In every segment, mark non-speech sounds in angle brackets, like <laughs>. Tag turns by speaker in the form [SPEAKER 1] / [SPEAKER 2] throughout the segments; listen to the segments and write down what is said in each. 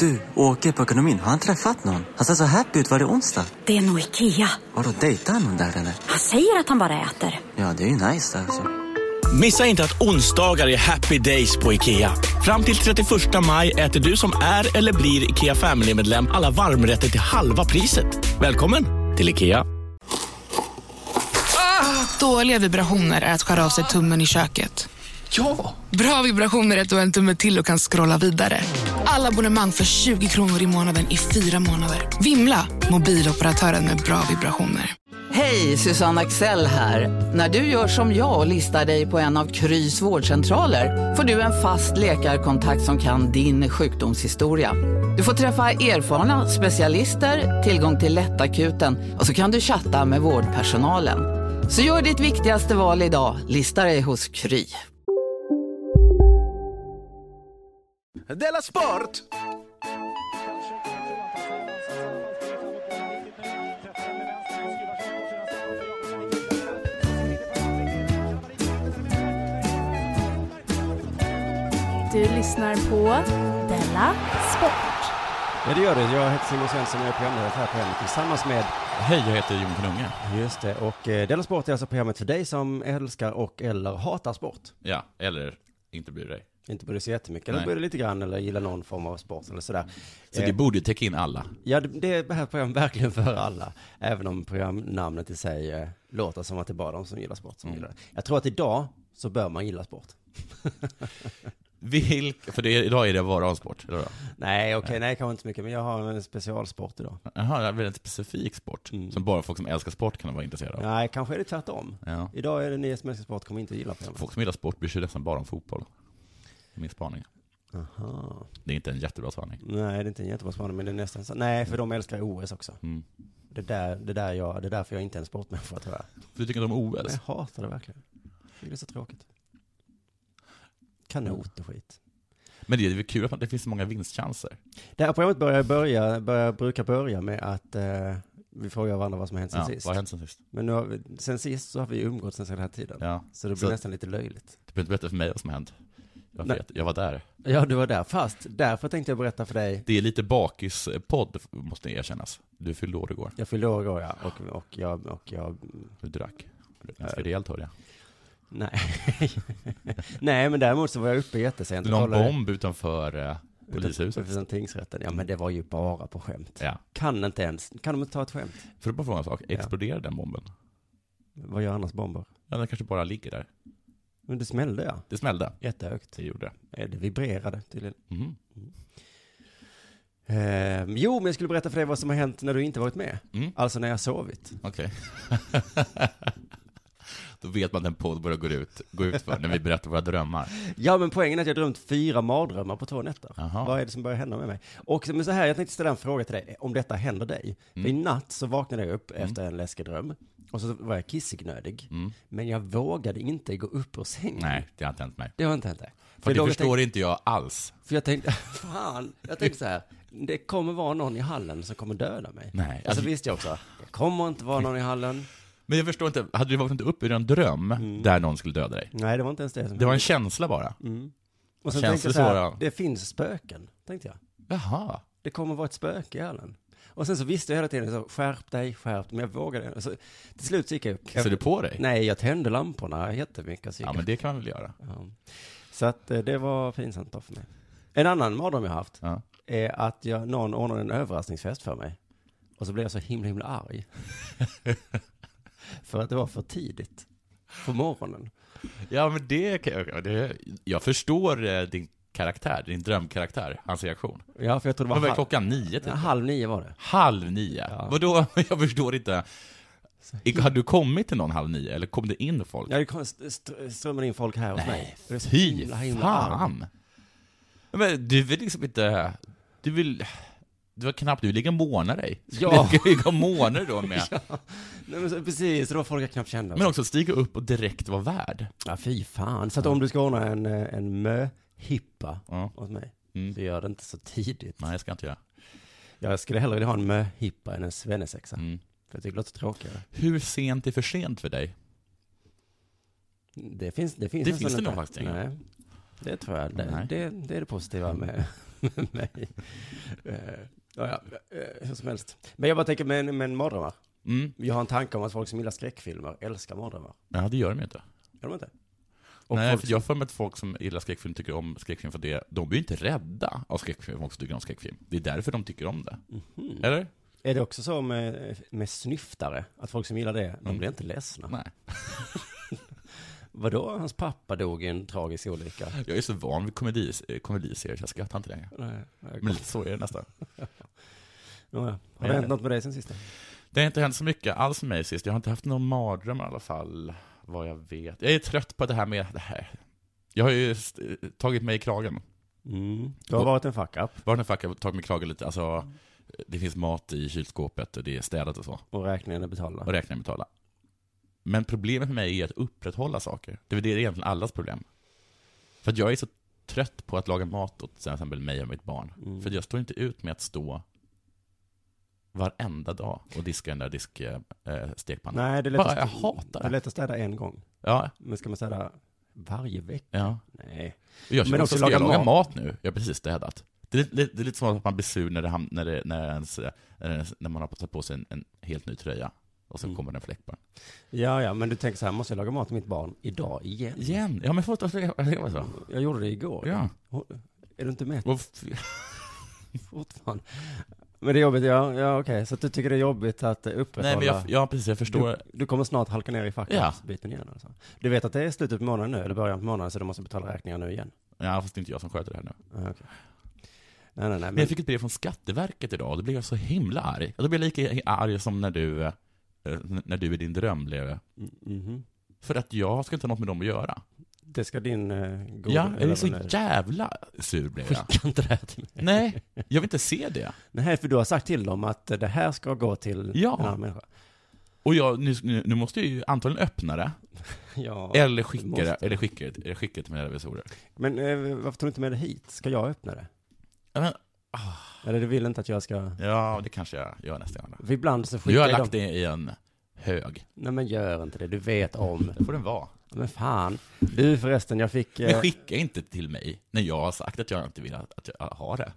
[SPEAKER 1] Du, åker på ekonomin. Har han träffat någon? Han ser så happy ut. Var det onsdag?
[SPEAKER 2] Det är nog Ikea.
[SPEAKER 1] Har du dejtat någon där eller?
[SPEAKER 2] Han säger att han bara äter.
[SPEAKER 1] Ja, det är ju nice alltså.
[SPEAKER 3] Missa inte att onsdagar är happy days på IKEA. Fram till 31 maj äter du som är eller blir IKEA Family-medlem alla varmrätter till halva priset. Välkommen till IKEA.
[SPEAKER 4] Dåliga vibrationer är att skära av sig tummen i köket.
[SPEAKER 5] Ja!
[SPEAKER 4] Bra vibrationer är att du har en tumme till och kan scrolla vidare. Alla abonnemang för 20 kronor i månaden i fyra månader. Vimla! Mobiloperatören med bra vibrationer.
[SPEAKER 6] Hej, Susanne Axel här. När du gör som jag och listar dig på en av Krys vårdcentraler får du en fast läkarkontakt som kan din sjukdomshistoria. Du får träffa erfarna specialister, tillgång till lättakuten och så kan du chatta med vårdpersonalen. Så gör ditt viktigaste val idag, listar dig hos Kry.
[SPEAKER 5] Della Sport!
[SPEAKER 7] Du lyssnar på Della Sport.
[SPEAKER 8] Ja det gör det. Jag heter Simon Svensson och jag är programledare för det här programmet tillsammans med
[SPEAKER 9] Hej, jag heter Jon Knunge.
[SPEAKER 8] Just det, och eh, Della Sport är alltså programmet för dig som älskar och eller hatar sport.
[SPEAKER 9] Ja, eller inte bryr dig.
[SPEAKER 8] Inte bryr dig så jättemycket, eller
[SPEAKER 9] Nej.
[SPEAKER 8] bryr dig lite grann eller gillar någon form av sport eller sådär.
[SPEAKER 9] Så
[SPEAKER 8] Eh,
[SPEAKER 9] det borde ju täcka in alla.
[SPEAKER 8] Ja, det, det är det här programmet verkligen för alla. Även om programnamnet i sig eh, låter som att det är bara de som gillar sport som gillar det. Jag tror att idag så bör man gilla sport. <laughs>
[SPEAKER 9] Vilk, för det, idag är det bara om sport. eller då?
[SPEAKER 8] Nej, okej, nej, kanske inte så mycket, men jag har en specialsport idag.
[SPEAKER 9] Jaha, det är en specifik sport som bara folk som älskar sport kan vara intresserade av.
[SPEAKER 8] Nej, kanske är det tvärtom.
[SPEAKER 9] Ja.
[SPEAKER 8] Idag är det ni som älskar sport kommer inte att gilla programmet.
[SPEAKER 9] Folk som gillar sport bryr sig nästan bara om fotboll. Det är min spaning.
[SPEAKER 8] Aha.
[SPEAKER 9] Det är inte en jättebra spaning.
[SPEAKER 8] Nej, det är inte en jättebra spaning, men det är nästan så. Nej, för de älskar OS också.
[SPEAKER 9] Mm.
[SPEAKER 8] Det, där, det, där jag, det är därför jag inte är en sportmänniska, tror jag.
[SPEAKER 9] Du tycker inte om
[SPEAKER 8] Men
[SPEAKER 9] OS?
[SPEAKER 8] jag hatar det verkligen. Jag tycker Det är så tråkigt. Kanot och skit.
[SPEAKER 9] Men det är väl kul att man- det finns så många vinstchanser.
[SPEAKER 8] Det här programmet börjar börja, börjar, brukar börja med att eh, vi frågar varandra vad som har hänt sen
[SPEAKER 9] Ja, vad
[SPEAKER 8] sist.
[SPEAKER 9] har hänt sen sist?
[SPEAKER 8] Men nu har vi, sen sist så har vi umgåtts sen den här tiden.
[SPEAKER 9] Ja.
[SPEAKER 8] Så det blir
[SPEAKER 9] Så-
[SPEAKER 8] nästan lite löjligt.
[SPEAKER 9] Du behöver inte berätta för mig vad som har hänt. Jag
[SPEAKER 8] Nej.
[SPEAKER 9] vet, jag var där.
[SPEAKER 8] Ja, du var där. Fast därför tänkte jag berätta för dig.
[SPEAKER 9] Det är lite bakispodd, måste erkännas. Du fyllde år igår.
[SPEAKER 8] Jag fyllde år igår, ja. Och, och, jag, och jag
[SPEAKER 9] Du drack. Ganska rejält hörde jag.
[SPEAKER 8] Nej. <laughs> Nej, men däremot så var jag uppe jättesent.
[SPEAKER 9] Det är någon bomb utanför eh, polishuset.
[SPEAKER 8] Utanför tingsrätten. Ja, men det var ju bara på skämt.
[SPEAKER 9] Ja.
[SPEAKER 8] Kan inte ens, kan de inte ta ett skämt?
[SPEAKER 9] För att bara fråga en sak, exploderade den bomben?
[SPEAKER 8] Vad gör annars bomber?
[SPEAKER 9] Ja, den kanske bara ligger där.
[SPEAKER 8] Men det smällde ja.
[SPEAKER 9] Det smällde.
[SPEAKER 8] Jättehögt.
[SPEAKER 9] Det gjorde det.
[SPEAKER 8] Eh, Det vibrerade tydligen.
[SPEAKER 9] Mhm.
[SPEAKER 8] Eh, jo, men jag skulle berätta för dig vad som har hänt när du inte varit med.
[SPEAKER 9] Mm.
[SPEAKER 8] Alltså när jag sovit.
[SPEAKER 9] Okej. <laughs> Då vet man att en podd börjar gå ut, gå ut för när vi berättar våra drömmar.
[SPEAKER 8] Ja, men poängen är att jag har drömt fyra mardrömmar på två nätter.
[SPEAKER 9] Aha.
[SPEAKER 8] Vad är det som börjar hända med mig? Och men så här, jag tänkte ställa en fråga till dig, om detta händer dig. För i
[SPEAKER 9] Mm.
[SPEAKER 8] natt så vaknade jag upp efter en läskig dröm, och så var jag kissegnödig. Men jag vågade inte gå upp ur sängen.
[SPEAKER 9] Mm. Nej, det har inte hänt mig.
[SPEAKER 8] Det har inte hänt dig.
[SPEAKER 9] För det
[SPEAKER 8] då jag
[SPEAKER 9] förstår
[SPEAKER 8] tänkte,
[SPEAKER 9] inte jag alls.
[SPEAKER 8] För jag tänkte, <laughs> fan, jag tänkte så här, det kommer vara någon i hallen som kommer döda mig.
[SPEAKER 9] Nej.
[SPEAKER 8] Alltså visste jag också, det kommer inte vara någon i hallen.
[SPEAKER 9] Men jag förstår inte, hade du vaknat upp ur en dröm
[SPEAKER 8] Mm.
[SPEAKER 9] där någon skulle döda dig?
[SPEAKER 8] Nej, det var inte ens det som
[SPEAKER 9] Det var en
[SPEAKER 8] hände.
[SPEAKER 9] känsla bara?
[SPEAKER 8] Mm. Och sen
[SPEAKER 9] känns
[SPEAKER 8] tänkte jag
[SPEAKER 9] det
[SPEAKER 8] så
[SPEAKER 9] så
[SPEAKER 8] här,
[SPEAKER 9] då?
[SPEAKER 8] det finns spöken, tänkte jag.
[SPEAKER 9] Jaha.
[SPEAKER 8] Det kommer vara ett spöke i hallen. Och sen så visste jag hela tiden, så, skärp dig, skärp dig, men jag vågade inte. Så till slut så gick jag upp.
[SPEAKER 9] Kissade du på dig?
[SPEAKER 8] Nej, jag tände lamporna jättemycket. Så, gick
[SPEAKER 9] Ja,
[SPEAKER 8] jag
[SPEAKER 9] men det kan man väl göra.
[SPEAKER 8] Ja. så att eh, det var pinsamt då för mig. En annan mardröm jag haft
[SPEAKER 9] Ja.
[SPEAKER 8] är att jag, någon ordnade en överraskningsfest för mig. Och så blev jag så himla, himla
[SPEAKER 9] <laughs>
[SPEAKER 8] arg. för att det var för tidigt. På morgonen.
[SPEAKER 9] Ja, men det kan jag... Det, jag förstår eh, din karaktär, din drömkaraktär, hans reaktion.
[SPEAKER 8] Ja, för jag
[SPEAKER 9] Det
[SPEAKER 8] trodde
[SPEAKER 9] var väl
[SPEAKER 8] det var halv,
[SPEAKER 9] klockan nio,
[SPEAKER 8] ja,
[SPEAKER 9] typ?
[SPEAKER 8] halv nio var det.
[SPEAKER 9] Halv nio?
[SPEAKER 8] Ja.
[SPEAKER 9] Vadå? <laughs> Jag förstår inte. I- Hade du kommit till någon halv nio, eller kom det in folk?
[SPEAKER 8] Ja, det kom, st- st- strömmade in folk här hos mig.
[SPEAKER 9] Nej,
[SPEAKER 8] Jag blev så
[SPEAKER 9] fy
[SPEAKER 8] himla, himla arg.
[SPEAKER 9] fan! Men du vill liksom inte... Du vill... Du var knappt, du vill ligga och måna dig.
[SPEAKER 8] Ja.
[SPEAKER 9] Du ska ligga och måna
[SPEAKER 8] <laughs>
[SPEAKER 9] dig då med.
[SPEAKER 8] Nej, men så, precis, det var folk jag knappt kände.
[SPEAKER 9] Men också stiga upp och direkt vara värd.
[SPEAKER 8] ja, fy fan. Så att om du ska ordna en, eh, en möhippa
[SPEAKER 9] Ja.
[SPEAKER 8] åt mig,
[SPEAKER 9] Mm.
[SPEAKER 8] så gör det inte så tidigt.
[SPEAKER 9] Nej, jag ska inte göra.
[SPEAKER 8] Jag skulle hellre vilja ha en möhippa än en svennesexa.
[SPEAKER 9] Mm.
[SPEAKER 8] För jag tycker det låter tråkigare.
[SPEAKER 9] Hur sent är för sent för dig?
[SPEAKER 8] Det finns det finns,
[SPEAKER 9] Det
[SPEAKER 8] nästan
[SPEAKER 9] finns det
[SPEAKER 8] inte.
[SPEAKER 9] nog faktiskt inga.
[SPEAKER 8] Nej. Det tror jag. Det,
[SPEAKER 9] Nej. Mm.
[SPEAKER 8] det, det är det positiva med, <laughs> med mig. Eh, ja, ja, eh, hur som helst. Men jag bara tänker, men, men mardrömmar?
[SPEAKER 9] Mm.
[SPEAKER 8] Jag har en tanke om att folk som gillar skräckfilmer älskar mardrömmar.
[SPEAKER 9] Ja, det gör de ju inte.
[SPEAKER 8] Gör de inte? Och
[SPEAKER 9] Nej,
[SPEAKER 8] folk
[SPEAKER 9] för jag har för mig att folk som gillar skräckfilm tycker om skräckfilm för det. De blir ju inte rädda av skräckfilm, folk som tycker om skräckfilm. Det är därför de tycker om det.
[SPEAKER 8] Mhm.
[SPEAKER 9] Eller?
[SPEAKER 8] Är det också så med, med snyftare? Att folk som gillar det,
[SPEAKER 9] Mm.
[SPEAKER 8] de blir inte ledsna?
[SPEAKER 9] Nej.
[SPEAKER 8] Vadå, hans pappa dog i en tragisk olycka?
[SPEAKER 9] Jag är så van vid komedis- eh, komediserier så jag skrattar inte längre.
[SPEAKER 8] Nej, jag-
[SPEAKER 9] Men lite så är det nästan.
[SPEAKER 8] Nåja, Har
[SPEAKER 9] Nej.
[SPEAKER 8] det hänt något med dig sen sist?
[SPEAKER 9] Det har inte hänt så mycket alls med mig sist. Jag har inte haft någon mardröm i alla fall, vad jag vet. Jag är trött på det här med det här. Jag har ju st- eh, tagit mig i kragen.
[SPEAKER 8] Mm. Du har varit en fuck-up
[SPEAKER 9] Var den fuckar tagit mig i kragen lite. Alltså, det finns mat i kylskåpet och det är städat och så.
[SPEAKER 8] och räkningen är betald.
[SPEAKER 9] Och räknar jag betala. Men problemet för mig är att upprätthålla saker. Det är väl det egentligen allas problem. För att jag är så trött på att laga mat åt till exempel mig och mitt barn.
[SPEAKER 8] Mm.
[SPEAKER 9] För jag står inte ut med att stå varenda dag och diska den där disk, eh, stekpannan.
[SPEAKER 8] Nej, det är, lätt
[SPEAKER 9] Bara,
[SPEAKER 8] att,
[SPEAKER 9] jag hatar
[SPEAKER 8] det är
[SPEAKER 9] det.
[SPEAKER 8] lätt att städa en gång.
[SPEAKER 9] Ja,
[SPEAKER 8] Men ska man städa varje vecka?
[SPEAKER 9] ja.
[SPEAKER 8] Nej.
[SPEAKER 9] Och Jag
[SPEAKER 8] Men
[SPEAKER 9] Men
[SPEAKER 8] också
[SPEAKER 9] också, ska jag
[SPEAKER 8] laga
[SPEAKER 9] laga mat. nu? Jag har precis städat. Det är, lite- det är lite som att man blir sur när, det ham- när, det, när, ens, eh, när, ens, när man har tagit på sig en, en helt ny tröja. Och så
[SPEAKER 8] Mm.
[SPEAKER 9] kommer det en fläck på den.
[SPEAKER 8] Ja, ja, men du tänker så här, måste jag laga mat till mitt barn idag igen?
[SPEAKER 9] Igen! Ja men förlåt, jag ska- jag ska- så.
[SPEAKER 8] Jag gjorde det igår.
[SPEAKER 9] Ja.
[SPEAKER 8] Är du inte med
[SPEAKER 9] Och f-
[SPEAKER 8] fortfarande? Men det är jobbigt, ja, ja okej. Så att du tycker det är jobbigt att eh, upprätthålla...
[SPEAKER 9] Nej men jag, ja, precis, jag förstår.
[SPEAKER 8] Du, du kommer snart halka ner i
[SPEAKER 9] Ja.
[SPEAKER 8] fuck-biten igen alltså. Du vet att det är slutet på månaden nu, eller början på månaden, så du måste betala räkningar nu igen?
[SPEAKER 9] Ja, fast det är inte jag som sköter det här nu. Men,
[SPEAKER 8] Ja, okej. Nej, nej, nej. Men,
[SPEAKER 9] jag fick ett brev från Skatteverket idag och då blev jag så himla arg. Och då blev jag lika arg som när du, eh, n- när du i din dröm blev det.
[SPEAKER 8] Mhm.
[SPEAKER 9] För att jag ska inte ha något med dem att göra.
[SPEAKER 8] Det ska din eh,
[SPEAKER 9] ja,
[SPEAKER 8] god...
[SPEAKER 9] jag
[SPEAKER 8] eller
[SPEAKER 9] är så
[SPEAKER 8] vad det är.
[SPEAKER 9] jävla sur blev
[SPEAKER 8] <laughs>
[SPEAKER 9] jag.
[SPEAKER 8] Skicka inte det här till mig.
[SPEAKER 9] Nej, jag vill inte se det.
[SPEAKER 8] Nej, för du har sagt till dem att eh, det här ska gå till
[SPEAKER 9] Ja.
[SPEAKER 8] en annan människa.
[SPEAKER 9] Och jag, nu, nu nu måste jag ju antagligen öppna det,
[SPEAKER 8] Ja.
[SPEAKER 9] eller
[SPEAKER 8] du
[SPEAKER 9] skicka
[SPEAKER 8] måste.
[SPEAKER 9] det, eller skicka det, eller skicka det till mina revisorer.
[SPEAKER 8] Men eh, varför tog du inte med det hit? Ska jag öppna det?
[SPEAKER 9] Ja, men,
[SPEAKER 8] Eller du vill inte att jag ska...
[SPEAKER 9] ja det kanske jag gör nästa gång. då.
[SPEAKER 8] För ibland så
[SPEAKER 9] Nu har
[SPEAKER 8] skickar
[SPEAKER 9] jag
[SPEAKER 8] jag
[SPEAKER 9] lagt
[SPEAKER 8] dem...
[SPEAKER 9] det i en hög.
[SPEAKER 8] Nej men gör inte det, du vet om.
[SPEAKER 9] Det får den vara.
[SPEAKER 8] Men fan. Du förresten, jag fick... eh,
[SPEAKER 9] Men skicka inte till mig när jag har sagt att jag inte vill att att jag har det.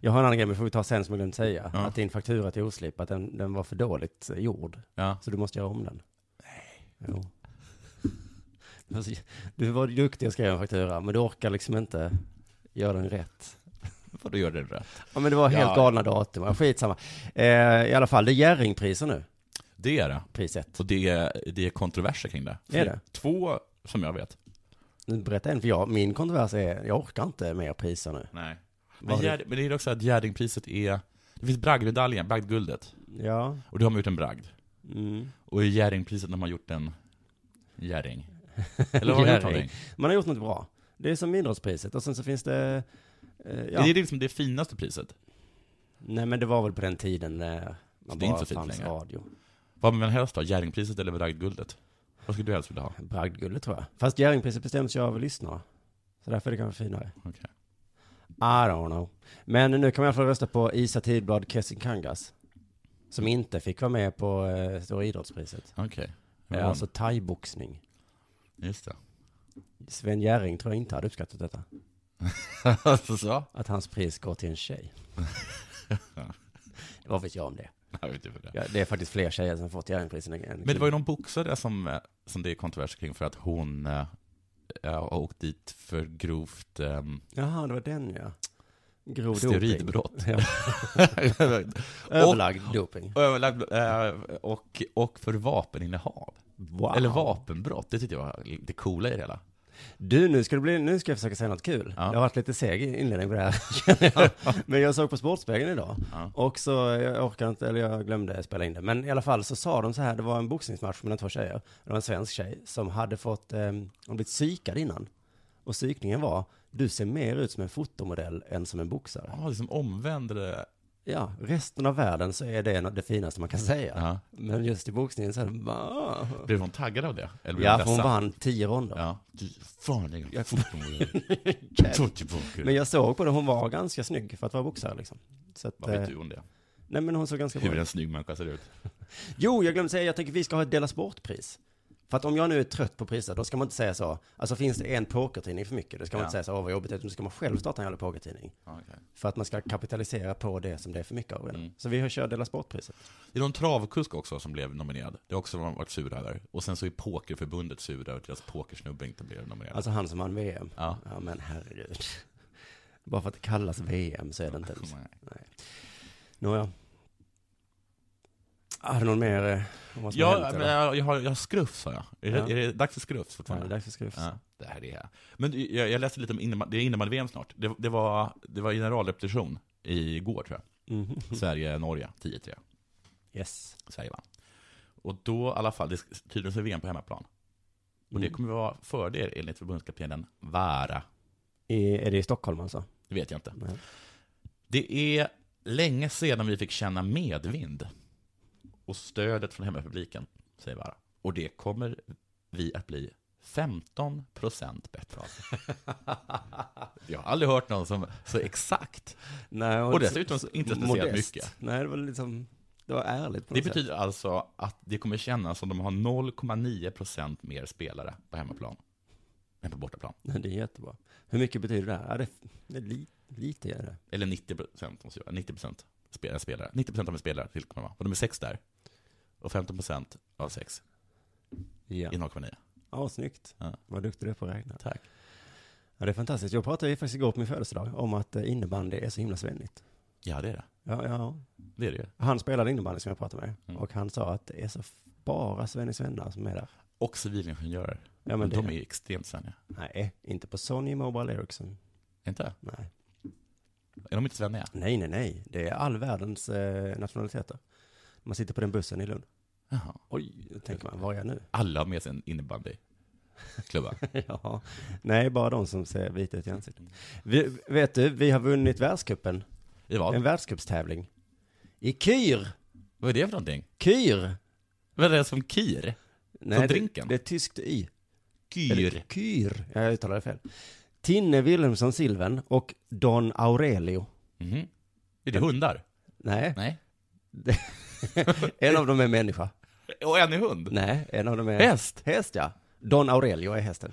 [SPEAKER 8] Jag har en annan grej, men får vi ta sen som jag glömde säga.
[SPEAKER 9] Ja.
[SPEAKER 8] Att din faktura till Oslip, att den, den var för dåligt eh, gjord.
[SPEAKER 9] Ja.
[SPEAKER 8] Så du måste göra om den. Nej. Jo. Du var så- Du var duktig och skrev en faktura, men du orkar liksom inte göra den rätt.
[SPEAKER 9] Vadå gör det rätt?
[SPEAKER 8] Ja men det var helt
[SPEAKER 9] Ja.
[SPEAKER 8] galna datum, ja, skitsamma. Eh, I alla fall, det är Jerringpriser nu,
[SPEAKER 9] Det är det.
[SPEAKER 8] pris ett.
[SPEAKER 9] Och det är, det är kontroverser kring det.
[SPEAKER 8] Är det?
[SPEAKER 9] Två, som jag vet.
[SPEAKER 8] Nu berättar en, för jag, min kontrovers är, jag orkar inte mer priser nu.
[SPEAKER 9] Nej. Men,
[SPEAKER 8] Vad har
[SPEAKER 9] Gärd, men det är också att Gärdingpriset är... Det finns bragdmedaljen, bragdguldet.
[SPEAKER 8] Ja.
[SPEAKER 9] Och då har man gjort en bragd.
[SPEAKER 8] Mm.
[SPEAKER 9] Och i Gärdingpriset när man gjort en gäring.
[SPEAKER 8] <laughs>
[SPEAKER 9] Eller vad har man gjort för
[SPEAKER 8] Gäring.
[SPEAKER 9] någonting?
[SPEAKER 8] Man har gjort något bra. Det är som idrottspriset, och sen så finns det, eh, ja.
[SPEAKER 9] Det är liksom det finaste priset.
[SPEAKER 8] Nej men det var väl på den tiden när man
[SPEAKER 9] det är
[SPEAKER 8] bara
[SPEAKER 9] inte så fint
[SPEAKER 8] fanns
[SPEAKER 9] längre.
[SPEAKER 8] radio.
[SPEAKER 9] Vad vill man helst ha? Gärdingpriset eller bragdguldet? Vad skulle du helst vilja ha?
[SPEAKER 8] Bragdguldet tror jag. Fast Jerringpriset bestäms ju av lyssnare. Så därför är det kanske finare.
[SPEAKER 9] Okej.
[SPEAKER 8] I don't know. Men nu kan man i alla fall rösta på Isa Tidblad Kessin Kangas. Som inte fick vara med på eh, Stora Idrottspriset.
[SPEAKER 9] Okej.
[SPEAKER 8] Ja, alltså thaiboxning.
[SPEAKER 9] Just det. <laughs>
[SPEAKER 8] Sven Jerring tror jag inte hade uppskattat detta.
[SPEAKER 9] alltså så?
[SPEAKER 8] Att hans pris går till
[SPEAKER 9] <laughs>
[SPEAKER 8] en tjej. Vad vet jag om det?
[SPEAKER 9] Jag vet inte för det.
[SPEAKER 8] Ja, det är faktiskt fler tjejer som fått Jerringpriset än
[SPEAKER 9] Men det var ju någon boxare som, eh, som det är kontrovers kring för att hon eh, eh, har åkt dit för grovt eh, <laughs>
[SPEAKER 8] Jaha, det var den ja. Grov doping.
[SPEAKER 9] steroidbrott.
[SPEAKER 8] Ja. Överlagd doping.
[SPEAKER 9] och, överlagd, eh, och, och för vapeninnehav.
[SPEAKER 8] Wow.
[SPEAKER 9] Eller vapenbrott, det tyckte jag var det coola i det hela.
[SPEAKER 8] Du, nu ska, det bli, nu ska jag försöka säga något kul.
[SPEAKER 9] Ja.
[SPEAKER 8] Det har varit lite seg inledning på det här,
[SPEAKER 9] <laughs>
[SPEAKER 8] <laughs> känner jag. Men jag såg på Sportspegeln idag.
[SPEAKER 9] Ja.
[SPEAKER 8] Och så, jag orkar inte, eller jag glömde spela in det. Men i alla fall så sa de så här, det var en boxningsmatch mellan två tjejer. Det var en svensk tjej som hade fått, eh, hon blivit psykad innan. Och psykningen var, du ser mer ut som en fotomodell än som en boxare.
[SPEAKER 9] Ja, det är som omvänd... eh,
[SPEAKER 8] Ja, resten av världen så är det nå- det finaste man kan säga.
[SPEAKER 9] Ja.
[SPEAKER 8] Men just i boxningen så är det bara...
[SPEAKER 9] Blev hon taggad av det? Eller blev
[SPEAKER 8] Ja,
[SPEAKER 9] hon
[SPEAKER 8] för hon
[SPEAKER 9] ledsen?
[SPEAKER 8] vann tio ronder.
[SPEAKER 9] Ja. Du, fan, jag är fotboll. <laughs> Ta tillbaka
[SPEAKER 8] Men
[SPEAKER 9] det.
[SPEAKER 8] jag såg på det, hon var ganska snygg för att vara boxare liksom. Så att,
[SPEAKER 9] Vad vet
[SPEAKER 8] eh,
[SPEAKER 9] du om det?
[SPEAKER 8] Nej men hon såg ganska bra
[SPEAKER 9] Hur
[SPEAKER 8] ut.
[SPEAKER 9] en snygg människa ser ut.
[SPEAKER 8] Jo, jag glömde säga, jag tänker vi ska ha ett Dela Sport-pris. För att om jag nu är trött på priset, då ska man inte säga så. Alltså finns det en pokertidning för mycket, då ska man
[SPEAKER 9] Ja.
[SPEAKER 8] inte säga så, åh vad jobbigt, utan då ska man själv starta en jävla pokertidning.
[SPEAKER 9] Ja, okej.
[SPEAKER 8] För att man ska kapitalisera på det som det är för mycket av redan.
[SPEAKER 9] Mm.
[SPEAKER 8] Så vi har kört Dela Sportpriset.
[SPEAKER 9] Det är någon travkusk också som blev nominerad. Det har också de varit sura över. Och sen så är Pokerförbundet sura över att deras pokersnubbe inte blev nominerad.
[SPEAKER 8] Alltså han som vann VM.
[SPEAKER 9] ja.
[SPEAKER 8] Ja men herregud. Bara för att det kallas VM så är det inte ens.
[SPEAKER 9] Nej.
[SPEAKER 8] Nåja. Har du någon mer eh, om vad som har
[SPEAKER 9] Ja,
[SPEAKER 8] hänt?
[SPEAKER 9] men
[SPEAKER 8] eller?
[SPEAKER 9] jag, jag, har, jag har skruff sa jag. Är,
[SPEAKER 8] Ja.
[SPEAKER 9] det, är det dags för skruff
[SPEAKER 8] Ja, det
[SPEAKER 9] fortfarande?
[SPEAKER 8] är dags för skrift.
[SPEAKER 9] Ja, det här är jag. Men jag, jag läste lite om innebandy- det är innebandy-VM snart. Det, det, var, det var generalrepetition igår tror
[SPEAKER 8] Mhm.
[SPEAKER 9] jag. Sverige-Norge, 10-3.
[SPEAKER 8] Yes.
[SPEAKER 9] Sverige vann. Och då i alla fall, det, är tydligen så är VM på hemmaplan. Och det
[SPEAKER 8] Mm.
[SPEAKER 9] kommer vara fördel enligt förbundskaptenen Vara.
[SPEAKER 8] I, är det i Stockholm alltså?
[SPEAKER 9] Det vet jag inte.
[SPEAKER 8] Nej.
[SPEAKER 9] Det är länge sedan vi fick känna medvind och stödet från hemmapubliken, säger Vara. Och det kommer vi att bli 15% bättre av. <laughs> Jag har aldrig hört någon som så exakt.
[SPEAKER 8] Nej,
[SPEAKER 9] Och dessutom så inte speciellt
[SPEAKER 8] modest.
[SPEAKER 9] mycket.
[SPEAKER 8] Nej, det var liksom, det var ärligt på
[SPEAKER 9] Det
[SPEAKER 8] något sätt.
[SPEAKER 9] betyder alltså att det kommer kännas som de har 0,9% mer spelare på hemmaplan än på bortaplan.
[SPEAKER 8] Nej, Det är jättebra. Hur mycket betyder det här? Ja, det, det är li, lite är det.
[SPEAKER 9] Eller 90% måste jag göra. 90% spelare, eh, spelare. 90% av en spelare tillkommer vara. Och de är sex där. Och 15% av sex
[SPEAKER 8] Ja.
[SPEAKER 9] i 0,9.
[SPEAKER 8] Ja, snyggt.
[SPEAKER 9] Ja.
[SPEAKER 8] Vad duktig du är på att räkna.
[SPEAKER 9] Tack.
[SPEAKER 8] Ja, det är fantastiskt. Jag pratade ju faktiskt igår på min födelsedag om att eh, innebandy är så himla svennigt.
[SPEAKER 9] Ja, det är det.
[SPEAKER 8] Ja, ja.
[SPEAKER 9] Det är det ju.
[SPEAKER 8] Han spelade innebandy som jag pratade med.
[SPEAKER 9] Mm.
[SPEAKER 8] Och han sa att det är så f- bara svennis vänner som är där.
[SPEAKER 9] Och civilingenjörer.
[SPEAKER 8] Ja, men
[SPEAKER 9] men
[SPEAKER 8] det,
[SPEAKER 9] de är ju extremt svenniga.
[SPEAKER 8] Nej, inte på Sony Mobile Ericsson.
[SPEAKER 9] Inte?
[SPEAKER 8] Nej.
[SPEAKER 9] Är de inte svenniga?
[SPEAKER 8] nej, nej, nej. Det är all världens eh, nationaliteter. Man sitter på den bussen i Lund.
[SPEAKER 9] Jaha.
[SPEAKER 8] Oj, då tänker man, var är jag nu? <laughs>
[SPEAKER 9] Alla har med sig en innebandyklubba.
[SPEAKER 8] ja, nej, bara de som ser vita ut i ansiktet. Vi, vet du, vi har vunnit världscupen.
[SPEAKER 9] I vad?
[SPEAKER 8] En världscupstävling. I Kyr!
[SPEAKER 9] Vad är det för någonting?
[SPEAKER 8] Kyr!
[SPEAKER 9] Vad är det som kir?
[SPEAKER 8] Nej, det-
[SPEAKER 9] drinken?
[SPEAKER 8] Det är tyskt i. Eller
[SPEAKER 9] Kyr.
[SPEAKER 8] Kyr. Ja, Jag uttalade fel. Tinne Wilhelmsson Silven och Don Aurelio.
[SPEAKER 9] Mhm. Är det hundar?
[SPEAKER 8] Nej,
[SPEAKER 9] Nej.
[SPEAKER 8] <laughs> en av dem är människa.
[SPEAKER 9] Och en är hund? <laughs>
[SPEAKER 8] Nej, en av dem är...
[SPEAKER 9] Häst?
[SPEAKER 8] Häst, ja. Don Aurelio är hästen.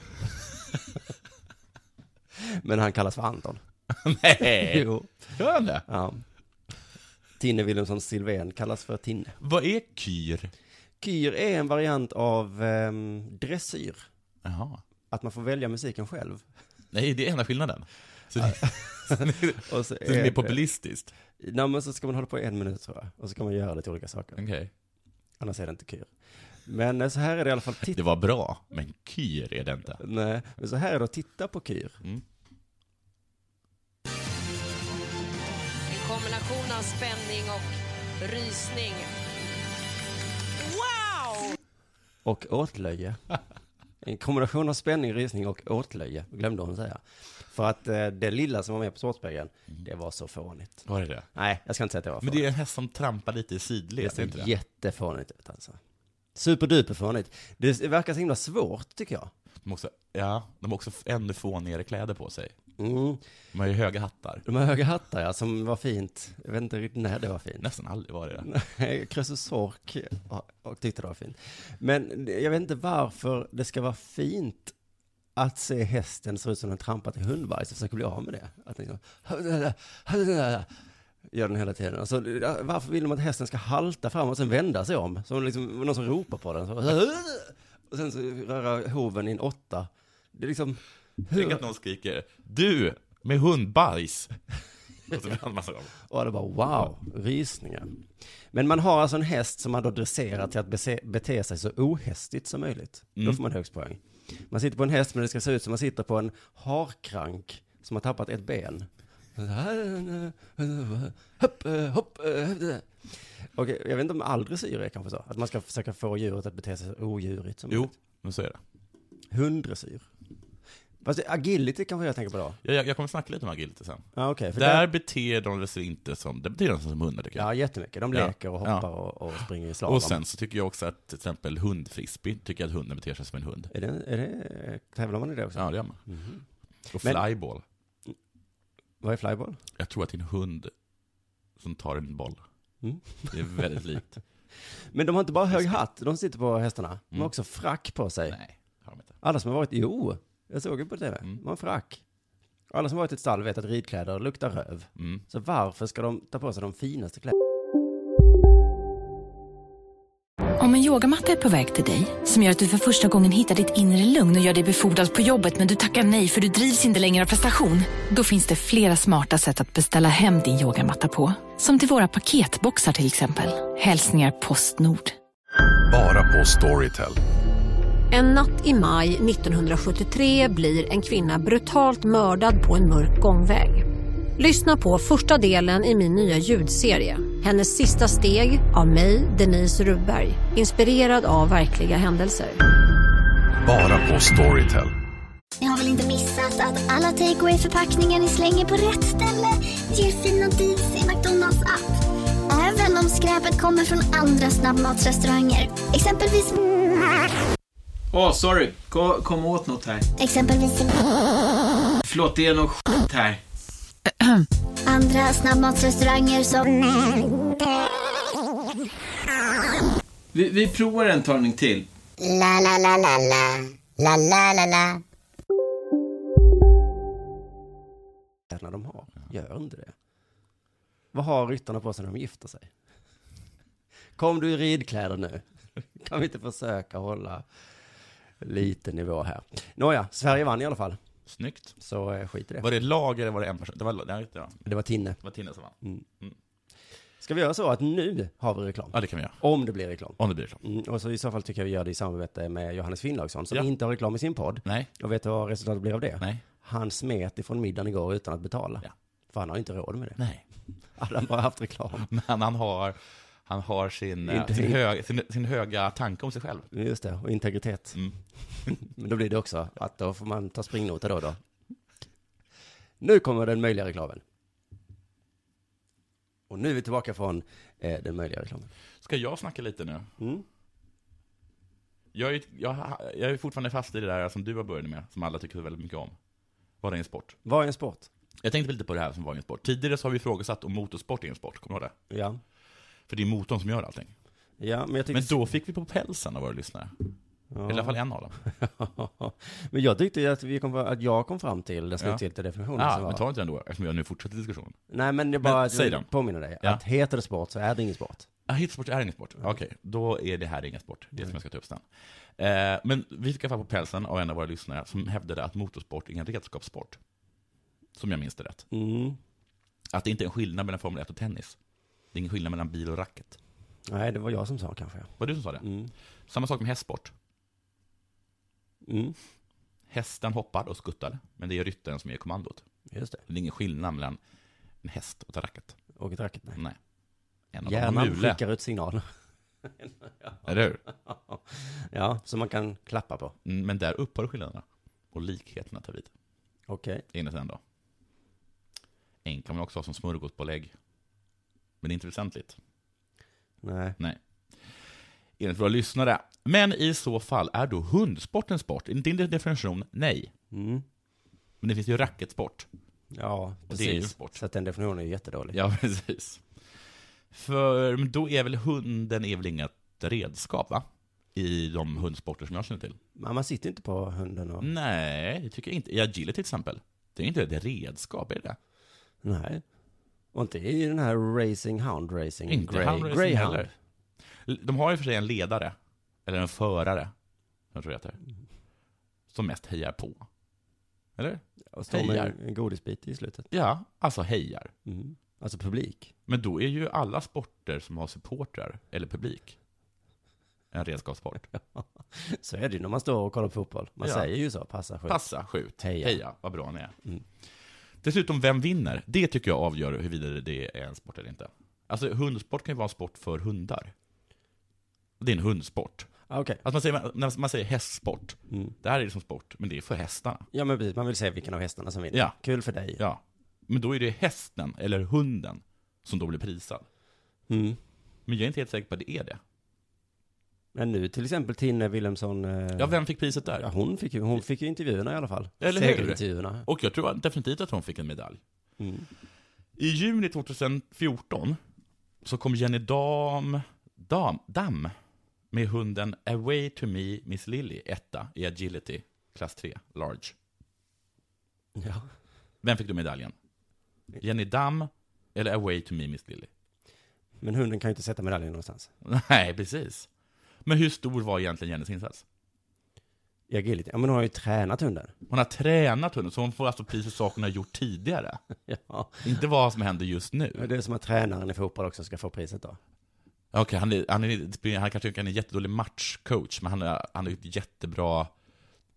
[SPEAKER 8] <laughs> Men han kallas för Anton.
[SPEAKER 9] Nej.
[SPEAKER 8] Jo.
[SPEAKER 9] Gör han det?
[SPEAKER 8] Ja. Tinne Wilhelmsson Silven kallas för Tinne.
[SPEAKER 9] Vad är kyr?
[SPEAKER 8] Kyr är en variant av ehm, dressyr.
[SPEAKER 9] Jaha.
[SPEAKER 8] Att man får välja musiken själv.
[SPEAKER 9] Nej, det är enda
[SPEAKER 8] <laughs>
[SPEAKER 9] skillnaden. Så det, <laughs>
[SPEAKER 8] Och så
[SPEAKER 9] det är mer populistiskt.
[SPEAKER 8] Nej, men så ska man hålla på en minut tror jag. Och så kan man göra lite olika saker.
[SPEAKER 9] Okej.
[SPEAKER 8] Annars är det inte kyr. Men eh, så här är det i alla fall
[SPEAKER 9] Det
[SPEAKER 8] titta.
[SPEAKER 9] var bra, men kyr är det inte.
[SPEAKER 8] Nej, men så här är det att titta på kyr.
[SPEAKER 9] Mm.
[SPEAKER 10] En kombination av spänning och rysning. Wow!
[SPEAKER 8] Och åtlöje. En kombination av spänning, rysning och åtlöje, glömde hon säga. För att eh, det lilla som var med på Sportspegeln, det var så fånigt.
[SPEAKER 9] Var är det?
[SPEAKER 8] Nej, jag ska inte säga att det var
[SPEAKER 9] Mm. Men
[SPEAKER 8] fånigt.
[SPEAKER 9] det är en häst som trampar lite i
[SPEAKER 8] det
[SPEAKER 9] sidled, är
[SPEAKER 8] ser
[SPEAKER 9] inte det?
[SPEAKER 8] jättefånigt ut alltså. Superduperfånigt. Det verkar så himla svårt tycker jag.
[SPEAKER 9] De har också, ja, de har också ännu fånigare kläder på sig.
[SPEAKER 8] Mm.
[SPEAKER 9] De har ju höga hattar.
[SPEAKER 8] De här höga hattar ja, som var fint. Jag vet inte riktigt när det var fint.
[SPEAKER 9] Nästan aldrig var det det.
[SPEAKER 8] Nej, Krösus Sork och tyckte det var fint. Men jag vet inte varför det ska vara fint att se hästen se ut som den trampat i hundbajs och försöka bli av med det. Att liksom, gör den hela tiden. Alltså, varför vill de att hästen ska halta fram och sen vända sig om? Som liksom, någon som ropar på den. Så, och sen så röra hoven i en åtta. Det är liksom,
[SPEAKER 9] Tänk att någon skriker ”Du, med hundbajs!” Och så vänder man sig om.
[SPEAKER 8] och det bara wow, rysningar. Men man har alltså en häst som man då dresserar till att bese- bete sig så ohästigt som möjligt.
[SPEAKER 9] Mm.
[SPEAKER 8] Då får man högst poäng. Man sitter på en häst men det ska se ut som man sitter på en harkrank som har tappat ett ben. Hopp, eh, hopp, eh, hopp, eh. Okej, jag vet inte om all dressyr är kanske så. Att man ska försöka få djuret att bete sig så odjurigt som
[SPEAKER 9] Jo,
[SPEAKER 8] möjligt.
[SPEAKER 9] men så är det.
[SPEAKER 8] Hunddressyr. Fast agility kanske jag tänker på då.
[SPEAKER 9] Jag, jag, jag kommer snacka lite om agility sen.
[SPEAKER 8] Ja, okej. för
[SPEAKER 9] Där beter de sig inte som, där beter de sig som hundar tycker jag.
[SPEAKER 8] Ja, jättemycket. De
[SPEAKER 9] Ja.
[SPEAKER 8] leker och hoppar
[SPEAKER 9] Ja.
[SPEAKER 8] och, och springer i slalom.
[SPEAKER 9] Och sen så tycker jag också att till exempel hundfrisbee, tycker jag att hunden beter sig som en hund.
[SPEAKER 8] Är det, är det, eh, tävlar man i det också?
[SPEAKER 9] Ja, det gör man.
[SPEAKER 8] Mhm.
[SPEAKER 9] Och
[SPEAKER 8] Men-
[SPEAKER 9] flyball.
[SPEAKER 8] Vad är flyball?
[SPEAKER 9] Jag tror att det är en hund som tar en boll.
[SPEAKER 8] Mm. <laughs>
[SPEAKER 9] Det är väldigt likt.
[SPEAKER 8] Men de har inte bara hög hatt, de sitter på hästarna. De har också frack på sig.
[SPEAKER 9] Nej, har de inte.
[SPEAKER 8] Alla som har varit, jo, jag såg det på TV, de har en frack. Alla som har varit i ett stall vet att ridkläder luktar röv.
[SPEAKER 9] Mm.
[SPEAKER 8] Så varför ska de ta på sig de finaste kläderna?
[SPEAKER 2] Om en yogamatta är på väg till dig, som gör att du för första gången hittar ditt inre lugn och gör dig befordrad på jobbet men du tackar nej för du drivs inte längre av prestation. Då finns det flera smarta sätt att beställa hem din yogamatta på. Som till våra paketboxar till exempel. Hälsningar Postnord.
[SPEAKER 11] Bara på Storytel.
[SPEAKER 12] En natt i maj 1973 blir en kvinna brutalt mördad på en mörk gångväg. Lyssna på första delen i min nya ljudserie. Hennes sista steg av mig, Denise Rubberg. Inspirerad av verkliga händelser.
[SPEAKER 11] Bara på Storytel.
[SPEAKER 13] Ni har väl inte missat att alla takeaway förpackningar ni slänger på rätt ställe ger fina deals i McDonalds app. Även om skräpet kommer från andra snabbmatsrestauranger. Exempelvis...
[SPEAKER 14] Åh, sorry. Kom, kom åt något här.
[SPEAKER 13] Exempelvis...
[SPEAKER 14] Förlåt, det är något skit här.
[SPEAKER 13] Andra snabbmatsrestauranger som...
[SPEAKER 14] Vi, vi provar en talning till.
[SPEAKER 13] La, la, la, la, la. La, la, la, la.
[SPEAKER 8] de har. Gör inte det. Vad har ryttarna på sig när de gifter sig? Kom du i ridkläder nu? <laughs> Kan vi inte försöka hålla lite nivå här? Nåja, Sverige vann i alla fall.
[SPEAKER 9] Snyggt.
[SPEAKER 8] Så eh, skit i det.
[SPEAKER 9] Var det lag eller var det en person? Det var, nej, det var,
[SPEAKER 8] Det var Tinne.
[SPEAKER 9] det var Tinne som vann.
[SPEAKER 8] Mm.
[SPEAKER 9] Mm.
[SPEAKER 8] Ska vi göra så att nu har vi reklam?
[SPEAKER 9] Ja, det kan vi göra.
[SPEAKER 8] Om det blir reklam.
[SPEAKER 9] Om det blir reklam.
[SPEAKER 8] Mm, och så i så fall tycker jag vi gör det i samarbete med Johannes Finnlaugsson som
[SPEAKER 9] Ja.
[SPEAKER 8] inte har reklam i sin podd.
[SPEAKER 9] Nej.
[SPEAKER 8] Och vet du vad resultatet blir av det?
[SPEAKER 9] Nej.
[SPEAKER 8] Han smet ifrån middagen igår utan att betala.
[SPEAKER 9] Ja.
[SPEAKER 8] För han har ju inte råd med det.
[SPEAKER 9] Nej. <laughs>
[SPEAKER 8] Hade han bara haft reklam.
[SPEAKER 9] Men han har, han har sin, eh,
[SPEAKER 8] Inte-
[SPEAKER 9] sin, hög, sin, sin höga tanke om sig själv.
[SPEAKER 8] Just det, och integritet.
[SPEAKER 9] Mm.
[SPEAKER 8] <laughs> Men då blir det också att då får man ta springnota då och då. Nu kommer den möjliga reklamen. Och nu är vi tillbaka från eh, den möjliga reklamen.
[SPEAKER 9] Ska jag snacka lite nu?
[SPEAKER 8] Mm.
[SPEAKER 9] Jag är, jag, jag är fortfarande fast i det där som du har börjat med, som alla tycker så väldigt mycket om. Vad är en sport?
[SPEAKER 8] Vad är en sport?
[SPEAKER 9] Jag tänkte lite på det här som var en sport. Tidigare så har vi ifrågasatt om motorsport är en sport, kommer du ihåg det?
[SPEAKER 8] Ja.
[SPEAKER 9] För det är motorn som gör allting.
[SPEAKER 8] Ja, men jag tycker...
[SPEAKER 9] Men då fick vi på pälsen av våra lyssnare.
[SPEAKER 8] Ja.
[SPEAKER 9] I alla fall en av dem.
[SPEAKER 8] <laughs> men jag tyckte ju att, vi kom, att jag kom fram till den
[SPEAKER 9] Ja.
[SPEAKER 8] slutgiltiga definitionen.
[SPEAKER 9] Ja,
[SPEAKER 8] som var...
[SPEAKER 9] men ta inte den då, eftersom jag nu fortsätter diskussionen.
[SPEAKER 8] Nej, men jag
[SPEAKER 9] Men
[SPEAKER 8] bara
[SPEAKER 9] säg den.
[SPEAKER 8] påminner dig.
[SPEAKER 9] Ja.
[SPEAKER 8] Att heter det sport så är det ingen sport.
[SPEAKER 9] Ah, hitsport är ingen sport. Okej, då är det här ingen sport. Det är som jag ska ta upp sen. Eh, men vi fick i alla fall på pälsen av en av våra lyssnare som hävdade att motorsport är en redskapssport. Som jag minns det rätt.
[SPEAKER 8] Mm.
[SPEAKER 9] Att det inte är en skillnad mellan Formel 1 och tennis. Det är ingen skillnad mellan bil och racket.
[SPEAKER 8] Nej, det var jag som sa kanske.
[SPEAKER 9] Var det du som sa det?
[SPEAKER 8] Mm.
[SPEAKER 9] Samma sak med hästsport.
[SPEAKER 8] Mm.
[SPEAKER 9] Hästen hoppar och skuttar, men det är ryttaren som ger kommandot.
[SPEAKER 8] Just det.
[SPEAKER 9] Det är ingen skillnad mellan en häst och ett racket.
[SPEAKER 8] Och ett racket, nej.
[SPEAKER 9] Nej. En av dem har
[SPEAKER 8] Hjärnan
[SPEAKER 9] mule,
[SPEAKER 8] skickar ut signaler.
[SPEAKER 9] eller hur?
[SPEAKER 8] <laughs> ja, som man kan klappa på.
[SPEAKER 9] Mm, Men där upphör skillnaderna. Och likheterna tar vid,
[SPEAKER 8] Okej.
[SPEAKER 9] enligt en då. En kan man också ha som smörgåspålägg. Men det är inte väsentligt.
[SPEAKER 8] Nej.
[SPEAKER 9] enligt våra lyssnare. Men i så fall, är då hundsport en sport? Enligt din definition, nej.
[SPEAKER 8] Mm.
[SPEAKER 9] Men det finns ju racketsport. <laughs>
[SPEAKER 8] Ja,
[SPEAKER 9] Och det är
[SPEAKER 8] precis.
[SPEAKER 9] ju sport.
[SPEAKER 8] Så att den definitionen är ju jättedålig.
[SPEAKER 9] Ja, precis. För men då är väl hunden är väl inget redskap, va? I de hundsporter som jag känner till.
[SPEAKER 8] Men man sitter inte på hunden
[SPEAKER 9] Mm.
[SPEAKER 8] och...
[SPEAKER 9] Nej, det tycker jag inte. I agility till exempel. Det är inte ett redskap, är det?
[SPEAKER 8] Nej. Och inte i den här racing hound racing.
[SPEAKER 9] Inte houndracing heller. De har ju för sig en ledare, eller en förare, jag tror jag heter, som mest hejar på. Eller?
[SPEAKER 8] Och står med
[SPEAKER 9] Hejar.
[SPEAKER 8] en- en godisbit i slutet.
[SPEAKER 9] Ja, alltså hejar.
[SPEAKER 8] Mm. Alltså publik.
[SPEAKER 9] Men då är ju alla sporter som har supportrar eller publik en <laughs> redskapssport.
[SPEAKER 8] Så är det ju när man står och kollar på fotboll. Man
[SPEAKER 9] Ja.
[SPEAKER 8] säger ju så, passa skjut.
[SPEAKER 9] Passa, skjut,
[SPEAKER 8] Heja.
[SPEAKER 9] heja, vad bra ni är.
[SPEAKER 8] Mm.
[SPEAKER 9] Dessutom, vem vinner? Det tycker jag avgör huruvida det är en sport eller inte. Alltså, hundsport kan ju vara en sport för hundar. Det är en hundsport.
[SPEAKER 8] Ah, Okej.
[SPEAKER 9] Alltså man säger, när man säger hästsport,
[SPEAKER 8] Mm.
[SPEAKER 9] det här är liksom sport, men det är för hästarna.
[SPEAKER 8] Ja men precis, man vill se vilken av hästarna som vinner.
[SPEAKER 9] Ja.
[SPEAKER 8] Kul för dig.
[SPEAKER 9] Ja. Men då är det hästen, eller hunden, som då blir prisad.
[SPEAKER 8] Mm.
[SPEAKER 9] Men jag är inte helt säker på att det är det.
[SPEAKER 8] Men nu till exempel Tinne Wilhelmsson. eh,
[SPEAKER 9] Ja, vem fick priset där?
[SPEAKER 8] ja, hon, fick ju, hon fick ju intervjuerna i alla fall.
[SPEAKER 9] Eller hur?
[SPEAKER 8] Segerintervjuerna.
[SPEAKER 9] Och jag tror definitivt att hon fick en medalj.
[SPEAKER 8] Mm.
[SPEAKER 9] I juni 2014 så kom Jenny Dam, dam, damm med hunden Away to me Miss Lily, etta i agility, klass 3, large.
[SPEAKER 8] Ja.
[SPEAKER 9] Vem fick du medaljen? Jenny Damm eller Away to me Miss Lily?
[SPEAKER 8] Men hunden kan ju inte sätta medaljen någonstans.
[SPEAKER 9] <laughs> Nej, precis. Men hur stor var egentligen Jennys insats?
[SPEAKER 8] I agility? Ja, men hon har ju tränat hunden. <laughs>
[SPEAKER 9] Hon har tränat hunden, så hon får alltså pris för saker hon har gjort tidigare.
[SPEAKER 8] Ja.
[SPEAKER 9] Inte vad som händer just nu.
[SPEAKER 8] Det är som att tränaren i fotboll också ska få priset då.
[SPEAKER 9] Okej, han, är, han, är, han kanske inte är en jättedålig matchcoach, men han är, han är ett jättebra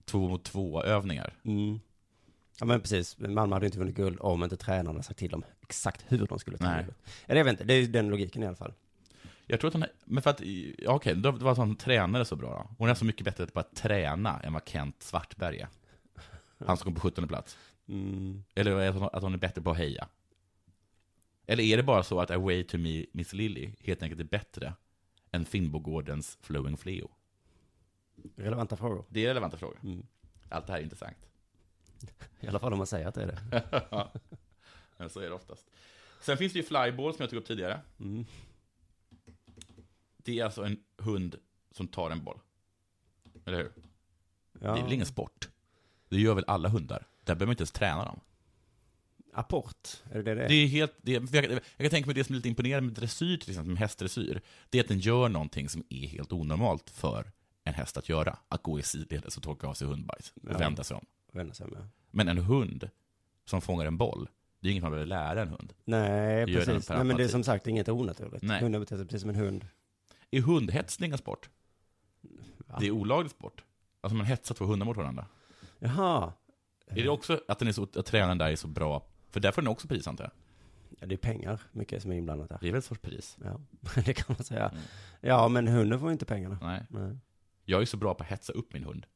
[SPEAKER 9] två mot två-övningar.
[SPEAKER 8] Mm. Ja men precis, Malmö hade inte vunnit guld om inte tränarna hade sagt till dem exakt hur de skulle ta
[SPEAKER 9] Nej.
[SPEAKER 8] guldet. Eller jag vet inte, det är ju den logiken i alla fall.
[SPEAKER 9] Jag tror att hon är, men för att, ja, okej, det var att hon tränade så bra då. Hon är så mycket bättre på att träna än vad Kent Svartberg är. Han som kom på 17 plats.
[SPEAKER 8] Mm.
[SPEAKER 9] Eller är det att hon- att hon är bättre på att heja? Eller är det bara så att Away to me, Miss Lily helt enkelt är bättre än Finnbogårdens Flowing Fleo?
[SPEAKER 8] Relevanta frågor.
[SPEAKER 9] Det är relevanta frågor. Allt det här är intressant. <laughs>
[SPEAKER 8] I alla fall om man säger att det är det.
[SPEAKER 9] Men så är det oftast. Sen finns det ju flyball som jag tog upp tidigare. Det är alltså en hund som tar en boll. Eller hur?
[SPEAKER 8] Ja.
[SPEAKER 9] Det är väl ingen sport? Det gör väl alla hundar? Där behöver man inte ens träna dem.
[SPEAKER 8] Apport, är det det det är?
[SPEAKER 9] Det är helt, det är, jag, kan- jag kan tänka mig det som är lite imponerande med dressyr, till exempel med hästdressyr, det är att den gör någonting som är helt onormalt för en häst att göra. Att gå i sidledes och torka av sig hundbajs och
[SPEAKER 8] Ja.
[SPEAKER 9] vända sig om.
[SPEAKER 8] Vända sig med.
[SPEAKER 9] Men en hund som fångar en boll, det är inget man behöver lära en hund.
[SPEAKER 8] Nej,
[SPEAKER 9] Det gör den
[SPEAKER 8] precis.
[SPEAKER 9] per
[SPEAKER 8] Nej, men det är
[SPEAKER 9] automatik.
[SPEAKER 8] som sagt inget onaturligt.
[SPEAKER 9] Nej.
[SPEAKER 8] Hunden beter sig precis som en hund.
[SPEAKER 9] Är hundhetsning en sport? Det är olaglig sport. Alltså man hetsar två hundar mot varandra.
[SPEAKER 8] Jaha,
[SPEAKER 9] Är det också att, den är så, att tränaren där är så bra? För där får den också pris antar jag?
[SPEAKER 8] ja, det är pengar mycket som är inblandat där.
[SPEAKER 9] Det är väl ett sorts pris?
[SPEAKER 8] Ja, <laughs> det kan man säga.
[SPEAKER 9] Mm.
[SPEAKER 8] Ja, men hunden får ju inte pengarna.
[SPEAKER 9] Nej.
[SPEAKER 8] Nej.
[SPEAKER 9] Jag är så bra på att hetsa upp min hund.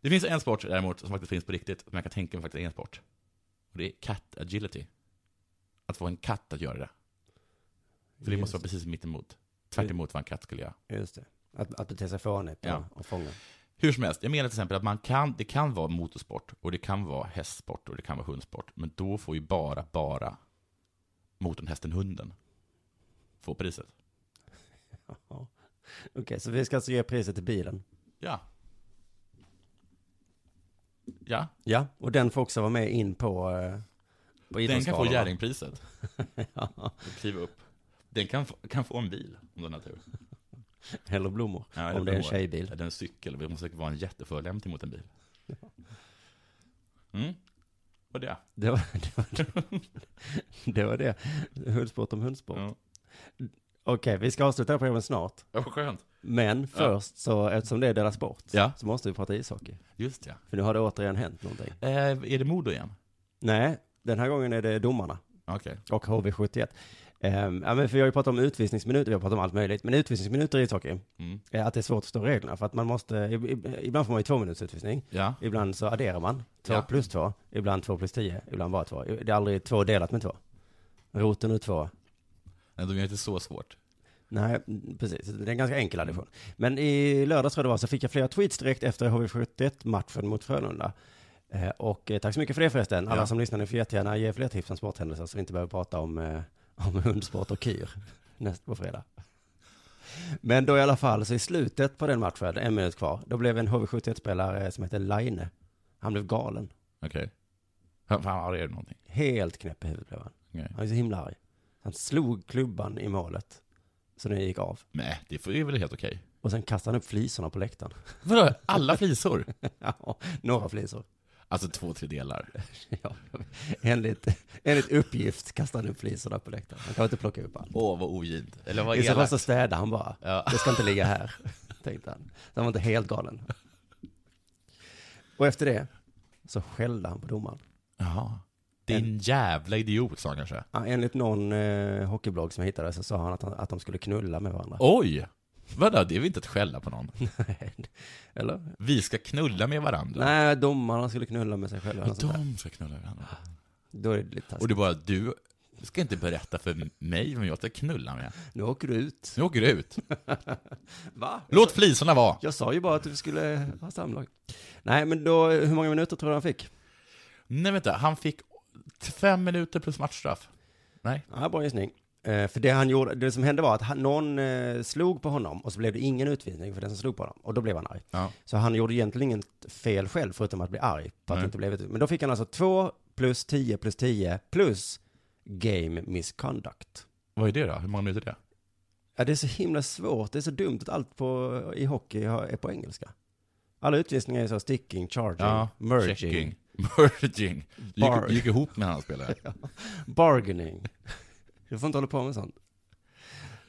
[SPEAKER 9] Det finns en sport däremot som faktiskt finns på riktigt, som jag kan tänka mig faktiskt är en sport. Och det är cat agility. Att få en katt att göra det. För det
[SPEAKER 8] Just
[SPEAKER 9] måste vara precis mitt emot. Tvärt emot vad en katt skulle göra.
[SPEAKER 8] Just det. Att, att bete sig fånigt
[SPEAKER 9] Ja.
[SPEAKER 8] och, och fånga.
[SPEAKER 9] Hur som helst, jag menar till exempel att man kan, det kan vara motorsport och det kan vara hästsport och det kan vara hundsport. Men då får ju bara, bara motorn, hästen, hunden få priset.
[SPEAKER 8] Jaha. Okej, så vi ska alltså ge priset till bilen.
[SPEAKER 9] Ja. Ja,
[SPEAKER 8] Ja, och den får också vara med in på, eh, på
[SPEAKER 9] den kan få
[SPEAKER 8] idrottsgalorna.
[SPEAKER 9] Jerringpriset.
[SPEAKER 8] <laughs> ja.
[SPEAKER 9] och kliva upp. Den kan, få- kan få en bil om den har tur.
[SPEAKER 8] Eller blommor,
[SPEAKER 9] Ja,
[SPEAKER 8] om det är en
[SPEAKER 9] blå.
[SPEAKER 8] tjejbil.
[SPEAKER 9] Är det en cykel? Det måste säkert vara en jätteförolämpning mot en bil. Mm. Och det.
[SPEAKER 8] Det var det. Var det. det, var det. Hundsport om hundsport. Okej, vi ska avsluta det här programmet snart.
[SPEAKER 9] Ja, vad skönt.
[SPEAKER 8] Men
[SPEAKER 9] Ja.
[SPEAKER 8] först, så, eftersom det är deras sport,
[SPEAKER 9] Ja.
[SPEAKER 8] så måste vi prata ishockey.
[SPEAKER 9] Just det.
[SPEAKER 8] För nu har det återigen hänt någonting.
[SPEAKER 9] Eh, är det Modo igen?
[SPEAKER 8] Nej, den här gången är det domarna.
[SPEAKER 9] Okej.
[SPEAKER 8] Och HV71. Ehm, ja, men för jag har ju pratat om utvisningsminuter, vi har pratat om allt möjligt. Men utvisningsminuter i ishockey,
[SPEAKER 9] Mm.
[SPEAKER 8] är Eh, att det är svårt att förstå reglerna. För att man måste, ib- ib- ibland får man ju två minuters utvisning.
[SPEAKER 9] Ja.
[SPEAKER 8] Ibland så adderar man, två
[SPEAKER 9] Ja.
[SPEAKER 8] plus två, ibland två plus tio, ibland bara två. Det är aldrig två delat med två. Roten och två.
[SPEAKER 9] Nej, de är inte så svårt.
[SPEAKER 8] Nej, mm, precis. Det är en ganska enkel addition. Men i lördags tror jag det var, så fick jag flera tweets direkt efter HV71-matchen mot Frölunda. Eh, Och eh, tack så mycket för det förresten. Alla
[SPEAKER 9] Ja.
[SPEAKER 8] som lyssnar nu får jättegärna ge fler tips om sporthändelser så vi inte behöver prata om, eh, om hundsport och kyr <laughs> näst på fredag. Men då i alla fall, så i slutet på den matchen, en minut kvar, då blev en HV71-spelare eh, som heter Laine, han blev galen.
[SPEAKER 9] Okej. Fan, fan, har det någonting?
[SPEAKER 8] Helt knäpp i huvudet blev han.
[SPEAKER 9] Okej.
[SPEAKER 8] Han är så himla arg. Han slog klubban i målet, så den gick av.
[SPEAKER 9] Nej, det får- är väl helt okej.
[SPEAKER 8] Och sen kastade han upp flisorna på läktaren. <laughs>
[SPEAKER 9] Vadå, alla flisor?
[SPEAKER 8] ja, några flisor.
[SPEAKER 9] Alltså två, tre delar.
[SPEAKER 8] <laughs> Ja, enligt, enligt uppgift kastade han upp flisorna på läktaren. Han kan inte plocka upp allt.
[SPEAKER 9] Åh, vad ogint. Eller vad
[SPEAKER 8] I så fall
[SPEAKER 9] elakt.
[SPEAKER 8] så städade han bara.
[SPEAKER 9] Ja.
[SPEAKER 8] Det ska inte ligga här, <laughs> tänkte han. Så han var inte helt galen. Och efter det så skällde han på domaren.
[SPEAKER 9] Jaha. Din jävla idiot, sa han kanske.
[SPEAKER 8] Ja, enligt någon eh, hockeyblogg som jag hittade så sa han att, han att de skulle knulla med varandra.
[SPEAKER 9] Oj! Vadå, det är väl inte att skälla på någon?
[SPEAKER 8] <laughs> Eller?
[SPEAKER 9] Vi ska knulla med varandra.
[SPEAKER 8] Nej, alltså, domarna skulle knulla med sig själva. eller
[SPEAKER 9] Och
[SPEAKER 8] något sånt där.
[SPEAKER 9] de ska knulla med varandra.
[SPEAKER 8] Då är det lite taskigt.
[SPEAKER 9] Och du bara, du ska inte berätta för mig vem jag ska knulla med.
[SPEAKER 8] Nu åker du ut.
[SPEAKER 9] Nu åker du ut.
[SPEAKER 8] Va?
[SPEAKER 9] Låt flisorna vara.
[SPEAKER 8] Jag sa ju bara att vi skulle ha samlag. Nej, men då, hur många minuter tror du han fick?
[SPEAKER 9] Nej, vänta. Han fick fem minuter plus matchstraff. Nej,
[SPEAKER 8] Ja, bra gissning. Eh, För det, han gjorde, det som hände var att han, någon eh, slog på honom och så blev det ingen utvisning för den som slog på honom. Och då blev han arg. Så han gjorde egentligen inget fel själv förutom att bli arg på att
[SPEAKER 9] Nej.
[SPEAKER 8] det inte blev utvisning. Men då fick han alltså 2 plus 10 plus 10 plus game misconduct.
[SPEAKER 9] Vad är det då? Hur många minuter är det?
[SPEAKER 8] Ja, det är så himla svårt. Det är så dumt att allt på, i hockey har- är på engelska. Alla utvisningar är så sticking, charging,
[SPEAKER 9] Ja,
[SPEAKER 8] merging.
[SPEAKER 9] checking. Merging. Du gick-
[SPEAKER 8] Bar-
[SPEAKER 9] du gick ihop med en annan spelare.
[SPEAKER 8] Ja. Bargaining. Du får inte hålla på med sånt.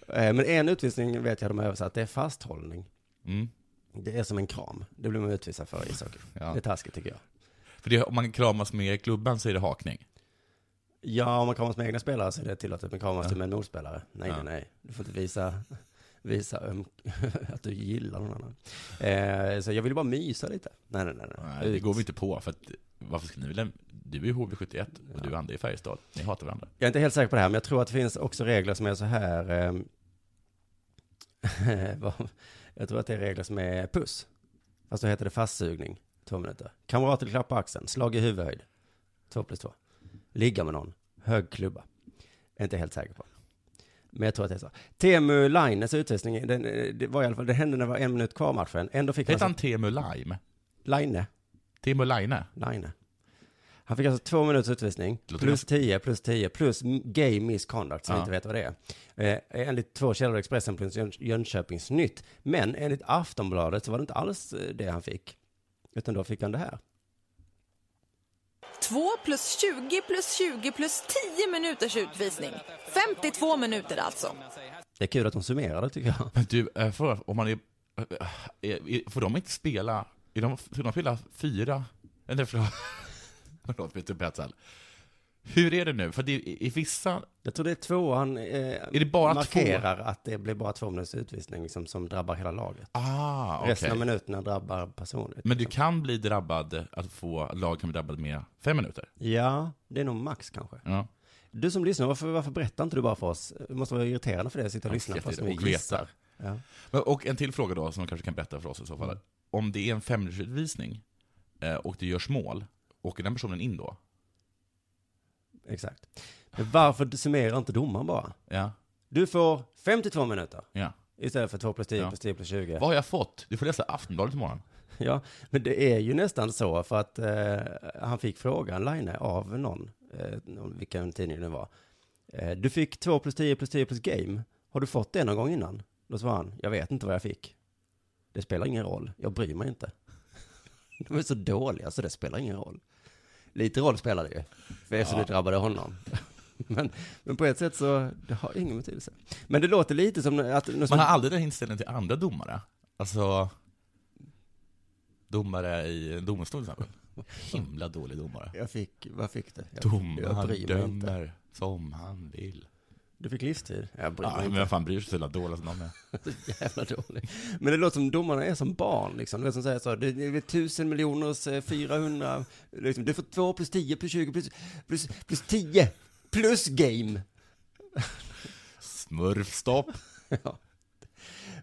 [SPEAKER 8] Eh, Men en utvisning vet jag de har översatt, det är fasthållning.
[SPEAKER 9] Mm.
[SPEAKER 8] Det är som en kram, det blir man utvisad för i ishockey. Det är taskigt tycker jag.
[SPEAKER 9] För det, om man kramas med klubban så är det hakning.
[SPEAKER 8] Ja, om man kramas med egna spelare så är det tillåtet, men kramas
[SPEAKER 9] Ja.
[SPEAKER 8] du med en motspelare? Nej,
[SPEAKER 9] Ja.
[SPEAKER 8] nej, nej. Du får inte visa, <laughs> visa öm- <laughs> att du gillar någon annan. Eh, så jag vill bara mysa lite. Nej, nej, nej. nej.
[SPEAKER 9] Nej, det
[SPEAKER 8] Ut.
[SPEAKER 9] går vi inte på. För att, varför ska ni vilja... Du är ju HV71 och du är andra i Färjestad. Ni hatar varandra.
[SPEAKER 8] Jag är inte helt säker på det här, men jag tror att det finns också regler som är så här. ehm, <laughs> vad- jag tror att det är regler som är puss. Fast då heter det fastsugning, två minuter. Kamrater klappar på axeln, slag i huvudhöjd, två plus två. Ligga med någon, hög klubba. Jag är inte helt säker på. Men jag tror att det är så. Temu Lainers utvisning, den, eh, det var i alla fall, det hände när det var en minut kvar av matchen. Ändå fick
[SPEAKER 9] Hette
[SPEAKER 8] han
[SPEAKER 9] han Teemu Lime?
[SPEAKER 8] Laine.
[SPEAKER 9] Teemu Laine?
[SPEAKER 8] Laine. Han fick alltså två minuters utvisning,
[SPEAKER 9] Låter
[SPEAKER 8] plus 10, plus 10, plus m- gay misconduct, som
[SPEAKER 9] Ja.
[SPEAKER 8] vi inte vet vad det är. Eh, enligt två källor, Expressen plus Jön- Jönköpings Nytt. Men enligt Aftonbladet så var det inte alls eh, det han fick. Utan då fick han det här.
[SPEAKER 15] 2 plus 20 plus 20 plus 10 minuters utvisning. 52 minuter alltså.
[SPEAKER 8] Det är kul att de summerade tycker jag.
[SPEAKER 9] Men du, eh, för, om man är... eh, är- Får de inte spela... Är de, får de spela fyra... Eller förlåt. <laughs> Förlåt, Peter Petzl. Hur är det nu? För det, i, i vissa...
[SPEAKER 8] Jag tror det är tvåan... Eh,
[SPEAKER 9] är det bara två?
[SPEAKER 8] markerar att det blir bara två minuters utvisning liksom, som drabbar hela laget.
[SPEAKER 9] Ah, okej.
[SPEAKER 8] Resten av minuterna drabbar personligt.
[SPEAKER 9] Men du kan bli drabbad, att få lag kan bli drabbad med fem minuter.
[SPEAKER 8] Ja, det är nog max kanske.
[SPEAKER 9] Ja.
[SPEAKER 8] Du som lyssnar, varför, varför berättar inte du bara för oss? Det måste vara irriterande för dig att sitta och lyssna på oss när vi gissar. Ja.
[SPEAKER 9] Men, och en till fråga då, som du kanske kan berätta för oss i så
[SPEAKER 8] Mm.
[SPEAKER 9] fall. Om det är en femminutersutvisning eh, och det görs mål, åker den personen in då?
[SPEAKER 8] Exakt. Men varför summerar inte domaren bara?
[SPEAKER 9] Ja.
[SPEAKER 8] Du får 52 minuter.
[SPEAKER 9] Ja.
[SPEAKER 8] Istället för 2 plus 10
[SPEAKER 9] Ja.
[SPEAKER 8] plus 10 plus 20.
[SPEAKER 9] Vad har jag fått? Du får läsa Aftonbladet imorgon.
[SPEAKER 8] Ja, men det är ju nästan så för att eh, han fick frågan, Line, av någon, eh, någon- vilken tidning det var. Eh, du fick 2 plus 10 plus 10 plus game. Har du fått det någon gång innan? Då svarade han, jag vet inte vad jag fick. Det spelar ingen roll, jag bryr mig inte. <laughs> De är så dåliga så det spelar ingen roll. Lite roll spelar det ju, för eftersom
[SPEAKER 9] Ja.
[SPEAKER 8] det drabbade honom. <laughs> Men, men på ett sätt så, det har ingen betydelse. Men det låter lite som att...
[SPEAKER 9] Man har aldrig den inställningen till andra domare. Alltså, domare i en domstol till exempel. Himla dålig domare.
[SPEAKER 8] Jag fick, vad fick det? Jag, jag
[SPEAKER 9] Domaren
[SPEAKER 8] bryr mig inte.
[SPEAKER 9] dömer som han vill.
[SPEAKER 8] Du fick livstid? Jag bryr
[SPEAKER 9] Ja,
[SPEAKER 8] mig
[SPEAKER 9] men <laughs>
[SPEAKER 8] inte.
[SPEAKER 9] vem fan bryr sig så jävla dåliga som de är?
[SPEAKER 8] Så jävla dålig. Men det låter som domarna är som barn liksom. Du vet som säger så, det är tusen miljoners eh, 400, liksom, du får två plus 10 plus 20 plus, plus, plus 10 plus game. <laughs>
[SPEAKER 9] Smurfstopp.
[SPEAKER 8] ja.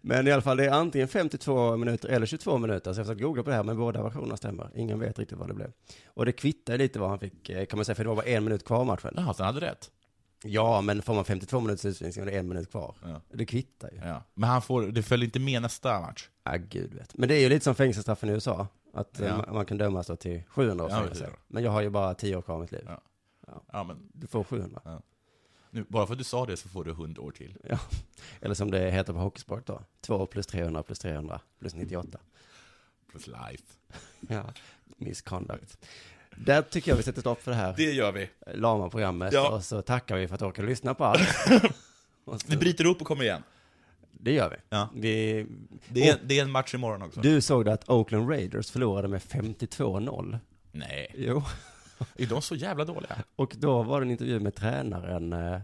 [SPEAKER 8] Men i alla fall, det är antingen 52 minuter eller 22 minuter. Så jag försökte googla på det här, men båda versionerna stämmer. Ingen vet riktigt vad det blev. Och det kvittar lite vad han fick, eh, kan man säga, för det var bara en minut kvar av matchen.
[SPEAKER 9] Jaha, så han hade rätt?
[SPEAKER 8] Ja, men får man 52 minuters utvisning så är det en minut kvar.
[SPEAKER 9] Ja.
[SPEAKER 8] Det kvittar ju.
[SPEAKER 9] Ja. Men han får, det följer inte med nästa match.
[SPEAKER 8] Ja, gud vet. Men det är ju lite som fängelsestraffen i USA. Att eh,
[SPEAKER 9] Ja.
[SPEAKER 8] man, man kan dömas då till 700 års
[SPEAKER 9] Ja,
[SPEAKER 8] fängelse.
[SPEAKER 9] precis.
[SPEAKER 8] Men jag har ju bara 10 år kvar av mitt liv.
[SPEAKER 9] Ja.
[SPEAKER 8] Ja.
[SPEAKER 9] Ja, men,
[SPEAKER 8] Du får 700.
[SPEAKER 9] ja. Nu, bara för att du sa det så får du 100 år till.
[SPEAKER 8] Ja. <laughs> Eller som det heter på hockeysport då. 2 plus 300 plus 300
[SPEAKER 9] <laughs>
[SPEAKER 8] plus 98.
[SPEAKER 9] Plus life.
[SPEAKER 8] Ja, misconduct. Där tycker jag vi sätter stopp för det här
[SPEAKER 9] Det gör vi.
[SPEAKER 8] lama programmet.
[SPEAKER 9] Ja.
[SPEAKER 8] Och så tackar vi för att du orkar
[SPEAKER 9] <laughs>
[SPEAKER 8] lyssna på allt. Och så-
[SPEAKER 9] Vi bryter upp och kommer igen.
[SPEAKER 8] Det gör vi.
[SPEAKER 9] Ja.
[SPEAKER 8] vi...
[SPEAKER 9] Det är, det är en match imorgon också.
[SPEAKER 8] Du såg det att Oakland Raiders förlorade med 52-0.
[SPEAKER 9] Nej.
[SPEAKER 8] Jo.
[SPEAKER 9] Är de så jävla dåliga?
[SPEAKER 8] Och då var det en intervju med tränaren eh,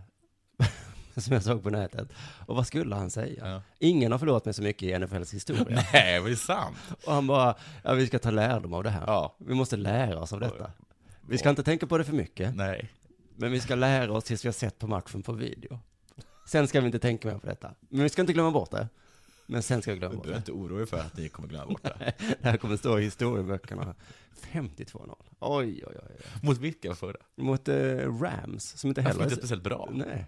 [SPEAKER 8] <laughs> som jag såg på nätet. Och vad skulle han säga?
[SPEAKER 9] Ja.
[SPEAKER 8] Ingen har förlorat mig så mycket i NFLs historia.
[SPEAKER 9] Nej, det är sant.
[SPEAKER 8] och han bara, ja, vi ska ta lärdom av det här. Vi måste lära oss av detta. Vi ska inte tänka på det för mycket.
[SPEAKER 9] Nej.
[SPEAKER 8] Men vi ska lära oss tills vi har sett på matchen på video. Sen ska vi inte tänka mer på detta. Men vi ska inte glömma bort det. Men sen ska vi glömma
[SPEAKER 9] Du
[SPEAKER 8] bort
[SPEAKER 9] behöver <laughs>
[SPEAKER 8] det.
[SPEAKER 9] inte oroa dig för att ni kommer glömma bort det.
[SPEAKER 8] Det här kommer stå i historieböckerna. 52-0. Oj, oj, oj.
[SPEAKER 9] <laughs> Mot vilka förra?
[SPEAKER 8] Mot eh, Rams, som inte
[SPEAKER 9] Ja,
[SPEAKER 8] heller...
[SPEAKER 9] som inte är speciellt bra.
[SPEAKER 8] Nej.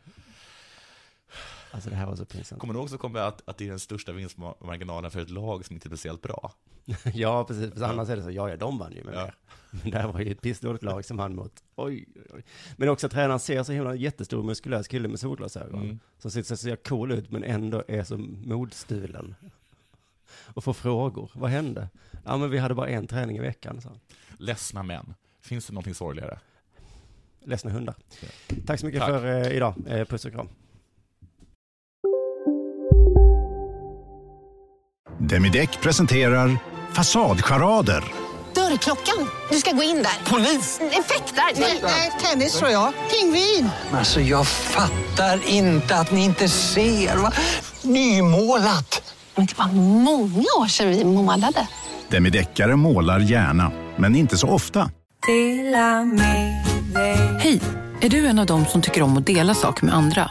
[SPEAKER 8] Alltså det här var så pinsamt.
[SPEAKER 9] Kommer du också komma att, att det är den största vinstmarginalen för ett lag som inte är speciellt bra?
[SPEAKER 8] <laughs> Ja, precis. För Annars är det så, ja, ja, de vann ju med mer. Men det här var ju ett pissdåligt lag som han mot. Oj, oj, oj. Men också att tränaren ser så himla jättestor muskulös kille med solglasögon.
[SPEAKER 9] Mm.
[SPEAKER 8] Som ser så jävla cool ut men ändå är så modstulen. Och får frågor. Vad hände? Ja, men vi hade bara en träning i veckan, sa han.
[SPEAKER 9] Ledsna män. Finns det någonting sorgligare?
[SPEAKER 8] Ledsna hundar. Tack så mycket
[SPEAKER 9] Tack.
[SPEAKER 8] för eh, idag. Eh, puss och kram.
[SPEAKER 16] Demideck presenterar Fasadcharader.
[SPEAKER 17] Dörrklockan. Du ska gå in där. Polis? Effektar? Nej, nej, tennis tror jag. Pingvin.
[SPEAKER 18] Alltså jag fattar inte att ni inte ser. Va? Nymålat!
[SPEAKER 17] Men det var många år sedan vi målade.
[SPEAKER 11] Demideckare målar gärna, men inte så ofta.
[SPEAKER 2] Hej! Är du en av dem som tycker om att dela saker med andra?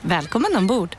[SPEAKER 19] Välkommen ombord!